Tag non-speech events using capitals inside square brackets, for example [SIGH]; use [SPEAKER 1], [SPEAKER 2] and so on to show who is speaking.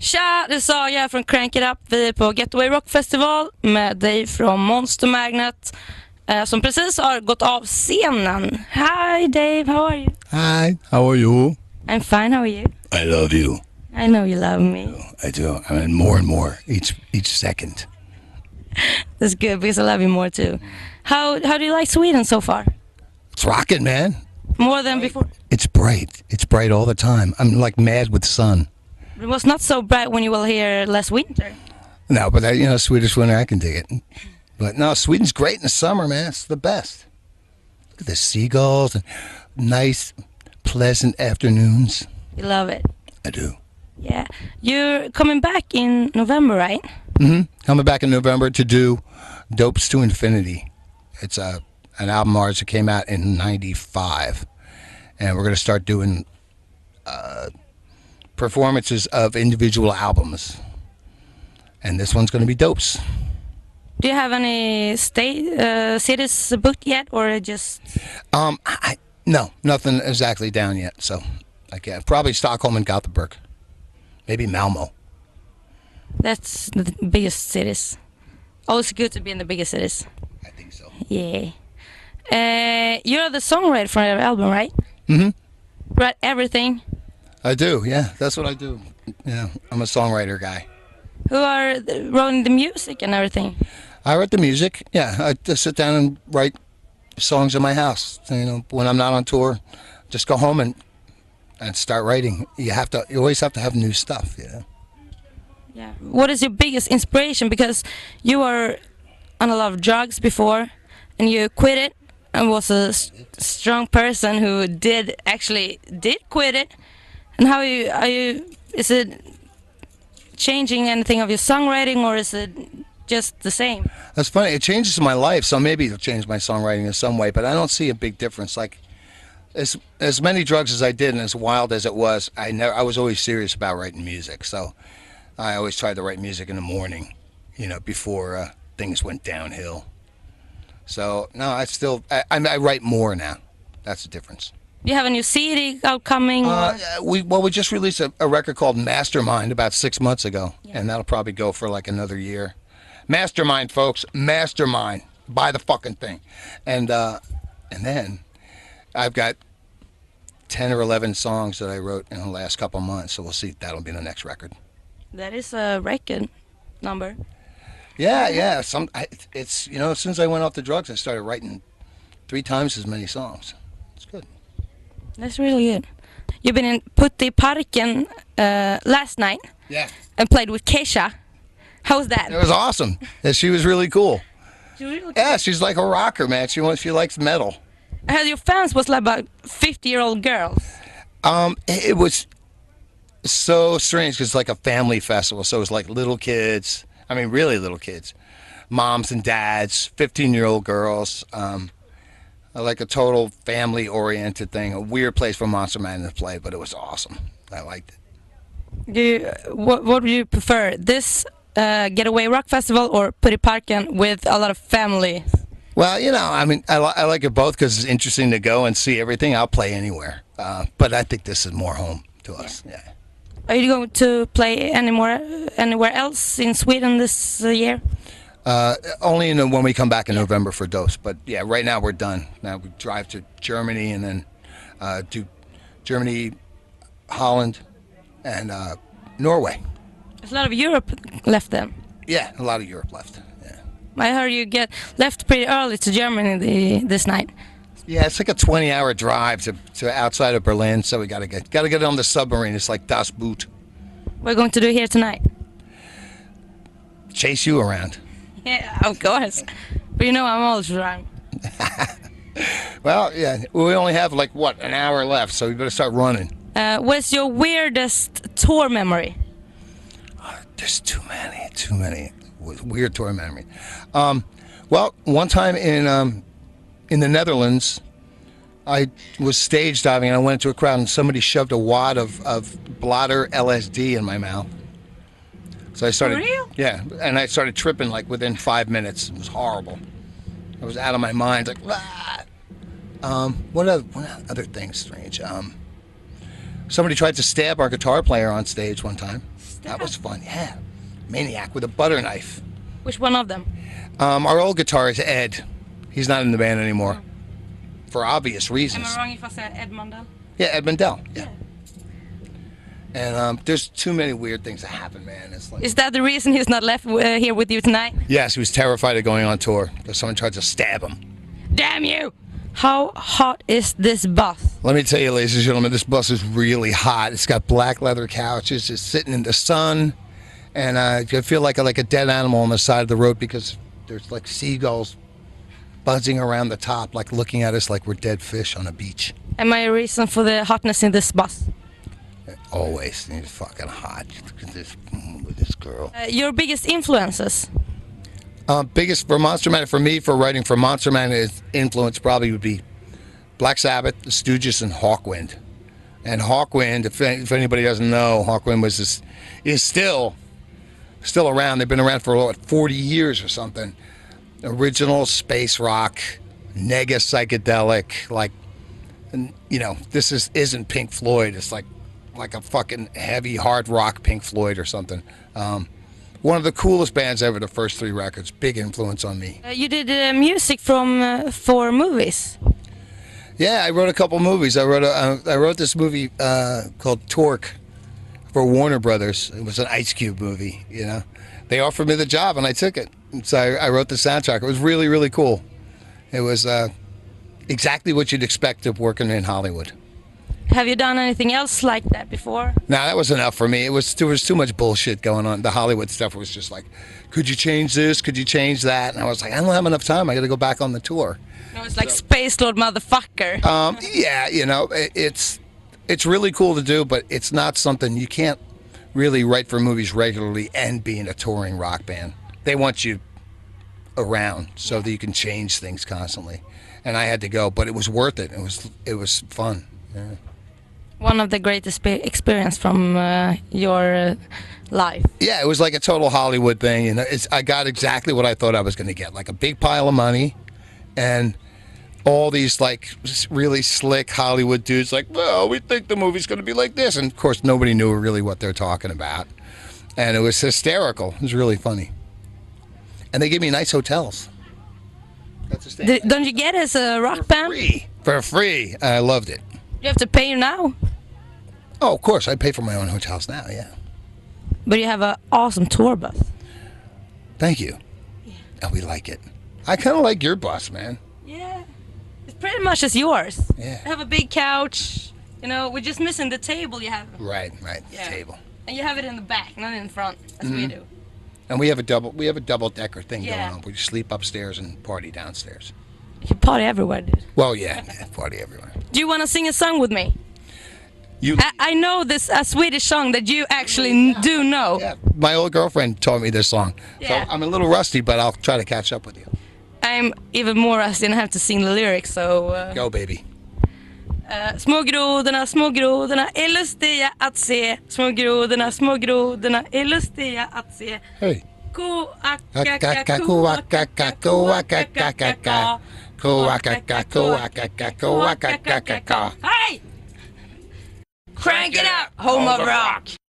[SPEAKER 1] Tja, det sa jag från Crank It Up. Vi är på Getaway Rock Festival med dig från Monster Magnet eh, som precis har gått av scenen. Hi Dave, how are you?
[SPEAKER 2] Hi, how are you?
[SPEAKER 1] I'm fine, how are you?
[SPEAKER 2] I love you.
[SPEAKER 1] I know you love me.
[SPEAKER 2] I do. I mean, more and more each each second.
[SPEAKER 1] That's good because I love you more too. How, how do you like Sweden so far?
[SPEAKER 2] It's rocking, man.
[SPEAKER 1] More than before?
[SPEAKER 2] It's bright. It's bright all the time. I'm like mad with sun.
[SPEAKER 1] It was not so bright when you were here last winter.
[SPEAKER 2] No, but I, you know, Swedish winter, I can dig it. But no, Sweden's great in the summer, man. It's the best. Look at the seagulls. and Nice, pleasant afternoons.
[SPEAKER 1] You love it.
[SPEAKER 2] I do.
[SPEAKER 1] Yeah. You're coming back in November, right?
[SPEAKER 2] Coming back in November to do Dopes to Infinity. It's a an album of ours that came out in 95. And we're going to start doing uh, performances of individual albums. And this one's going to be Dopes.
[SPEAKER 1] Do you have any state uh, cities booked yet, or just
[SPEAKER 2] Um, I, I- no, nothing exactly down yet. So I can't. Probably Stockholm and Gothenburg. Maybe Malmo.
[SPEAKER 1] that's the biggest cities? Always good to be in the biggest cities.
[SPEAKER 2] I think so.
[SPEAKER 1] Yeah. Uh, you're the songwriter for your album, right?
[SPEAKER 2] Mhm.
[SPEAKER 1] Write everything.
[SPEAKER 2] I do. Yeah, that's what I do. Yeah, I'm a songwriter guy.
[SPEAKER 1] Who are the, writing the music and everything?
[SPEAKER 2] I write the music. Yeah, I just sit down and write songs in my house. You know, when I'm not on tour, just go home and and start writing. You have to. You always have to have new stuff. You know.
[SPEAKER 1] Yeah. What is your biggest inspiration? Because you were on a lot of drugs before, and you quit it, and was a s- strong person who did actually did quit it. And how you are you? Is it changing anything of your songwriting, or is it just the same?
[SPEAKER 2] That's funny. It changes my life, so maybe it'll change my songwriting in some way. But I don't see a big difference. Like as as many drugs as I did, and as wild as it was, I never. I was always serious about writing music. So I always tried to write music in the morning. You know, before uh, things went downhill. So no, I still. I, I, I write more now. That's the difference.
[SPEAKER 1] Do you have a new CD upcoming?
[SPEAKER 2] Uh,
[SPEAKER 1] or-
[SPEAKER 2] we well, we just released a, a record called Mastermind about six months ago, and that'll probably go for like another year. Mastermind, folks, Mastermind, buy the fucking thing, and uh, and then I've got ten or eleven songs that I wrote in the last couple months, so we'll see. That'll be the next record.
[SPEAKER 1] that is a record number.
[SPEAKER 2] Yeah, yeah. Some I, it's you know, as soon as I went off the drugs, I started writing three times as many songs. It's good.
[SPEAKER 1] That's really good. You've been in Putte Parken uh, last night
[SPEAKER 2] Yeah,
[SPEAKER 1] and played with Keisha. How was that?
[SPEAKER 2] it was awesome. And she was really cool.
[SPEAKER 1] Do you really-
[SPEAKER 2] Yeah, she's like a rocker, man. She wants, she likes metal.
[SPEAKER 1] I heard your fans was like about 50 year old girls.
[SPEAKER 2] Um, it, it was so strange because it's like a family festival, so it was like little kids. I mean, really little kids, moms and dads, fifteen-year-old girls. Um, like a total family-oriented thing. A weird place for Monster Man to play, but it was awesome. I liked it.
[SPEAKER 1] Do you, what, what would you prefer? This uh, Getaway Rock Festival or Putte Parken with a lot of family?
[SPEAKER 2] Well, you know, I mean, I, li- I like it both because it's interesting to go and see everything. I'll play anywhere, uh, but I think this is more home to us. yeah.
[SPEAKER 1] Are you going to play anymore, anywhere else in Sweden this uh, year?
[SPEAKER 2] Uh, only in the, when we come back in November for Dose. But yeah, right now we're done. Now we drive to Germany and then uh, do Germany, Holland, and uh, Norway.
[SPEAKER 1] There's a lot of Europe left then.
[SPEAKER 2] Yeah, a lot of Europe left. Yeah,
[SPEAKER 1] I heard you get left pretty early to Germany the, this night.
[SPEAKER 2] yeah it's like a 20-hour drive to, to outside of Berlin, so we gotta get gotta get on the submarine. It's like Das Boot,
[SPEAKER 1] We're going to do here tonight. [LAUGHS]
[SPEAKER 2] chase you around.
[SPEAKER 1] Yeah, of course. But you know I'm always wrong.
[SPEAKER 2] Well, yeah, we only have like what an hour left, so we better start running.
[SPEAKER 1] Uh, what's your weirdest tour memory?
[SPEAKER 2] There's too many, too many w- weird tour memory. Um, well, one time in um, in the Netherlands, I was stage diving and I went into a crowd and somebody shoved a wad of, of blotter LSD in my mouth. So I started,
[SPEAKER 1] real?
[SPEAKER 2] yeah, and I started tripping like within five minutes. It was horrible. I was out of my mind, like. "Ah." Um, what other what other things strange? Um, somebody tried to stab our guitar player on stage one time. That was fun. Yeah. Maniac with a butter knife.
[SPEAKER 1] Which one of them?
[SPEAKER 2] Um, our old guitarist, Ed, he's not in the band anymore for obvious
[SPEAKER 1] Oh. Am
[SPEAKER 2] reasons.
[SPEAKER 1] I wrong if I said Ed Mundell?
[SPEAKER 2] Yeah, Ed Mendel. Yeah. And um, there's too many weird things that happen, man. It's like.
[SPEAKER 1] Is that the reason he's not left uh, here with you tonight?
[SPEAKER 2] yes, he was terrified of going on tour because someone tried to stab him.
[SPEAKER 1] Damn you! How hot is this bus?
[SPEAKER 2] Let me tell you, ladies and gentlemen, this bus is really hot. It's got black leather couches. It's sitting in the sun, and uh, I feel like like a dead animal on the side of the road because there's like seagulls buzzing around the top, like looking at us like we're dead fish on a beach.
[SPEAKER 1] Am I a reason for the hotness in this bus?
[SPEAKER 2] Always, and it's fucking hot. Look at this, mm, with this girl.
[SPEAKER 1] Uh, your biggest influences?
[SPEAKER 2] Uh, biggest for Monster Man for me for writing for Monster Man is influence probably would be Black Sabbath, The Stooges, and Hawkwind. And Hawkwind, if, if anybody doesn't know, Hawkwind was this, is still still around. They've been around for what 40 years or something. Original space rock, nega psychedelic, like and, you know this is isn't Pink Floyd. It's like like a fucking heavy hard rock Pink Floyd or something. Um, one of the coolest bands ever. The first three records, big influence on me.
[SPEAKER 1] Uh, you did uh, music from uh, four movies.
[SPEAKER 2] Yeah, I wrote a couple movies. I wrote a, uh, I wrote this movie uh, called Torque for Warner Brothers. It was an Ice Cube movie. You know, they offered me the job and I took it. And So I, I wrote the soundtrack. It was really really cool. It was uh, exactly what you'd expect of working in Hollywood.
[SPEAKER 1] Have you done anything else like that before?
[SPEAKER 2] Now that was enough for me. It was there was too much bullshit going on. The Hollywood stuff was just like, could you change this? Could you change that? And I was like, I don't have enough time. I got to go back on the tour.
[SPEAKER 1] No, it's like Space Lord Motherfucker.
[SPEAKER 2] Um, yeah, you know, it, it's it's really cool to do, but it's not something you can't really write for movies regularly and be in a touring rock band. They want you around so that you can change things constantly. And I had to go, but it was worth it. It was it was fun. Yeah.
[SPEAKER 1] One of the greatest pe- experience from uh, your uh, life.
[SPEAKER 2] yeah, it was like a total Hollywood thing, and it's, I got exactly what I thought I was going to get, like a big pile of money, and all these like s- really slick Hollywood dudes, like, well, we think the movie's going to be like this, and of course nobody knew really what they're talking about, and it was hysterical. It was really funny, and they gave me nice hotels. That's the thing.
[SPEAKER 1] D- don't you get as a rock band?
[SPEAKER 2] free for free. I loved it.
[SPEAKER 1] You have to pay now,
[SPEAKER 2] Oh, of course, I pay for my own hotels now. Yeah,
[SPEAKER 1] but you have an awesome tour bus.
[SPEAKER 2] thank you. And we like it. I kind of like your bus, man.
[SPEAKER 1] Yeah, it's pretty much as yours.
[SPEAKER 2] Yeah.
[SPEAKER 1] You have a big couch. You know, we're just missing the table you have,
[SPEAKER 2] Right, right. the
[SPEAKER 1] Yeah.
[SPEAKER 2] Table.
[SPEAKER 1] and you have it in the back, not in front, as
[SPEAKER 2] Mm-hmm.
[SPEAKER 1] we do.
[SPEAKER 2] And we have a double we have a double decker thing
[SPEAKER 1] Yeah.
[SPEAKER 2] going on. We sleep upstairs and party downstairs.
[SPEAKER 1] You can party everywhere, dude.
[SPEAKER 2] Well, yeah, yeah, party everywhere.
[SPEAKER 1] Do you want to sing a song with me?
[SPEAKER 2] You
[SPEAKER 1] I, I know this a Swedish song that you actually n do know.
[SPEAKER 2] yeah, my old girlfriend taught me this song.
[SPEAKER 1] Yeah.
[SPEAKER 2] So I'm a little rusty, but I'll try to catch up with you.
[SPEAKER 1] I'm even more rusty and I have to sing the lyrics, so... Uh,
[SPEAKER 2] Go, baby.
[SPEAKER 1] Eh, Små grodorna, små grodorna är lustiga att se. Små grodorna, små grodorna är lustiga att se.
[SPEAKER 2] Hey.
[SPEAKER 1] Koakaka, koakaka, koakaka,
[SPEAKER 2] Hey.
[SPEAKER 1] Hey! Crank it up, home of rock!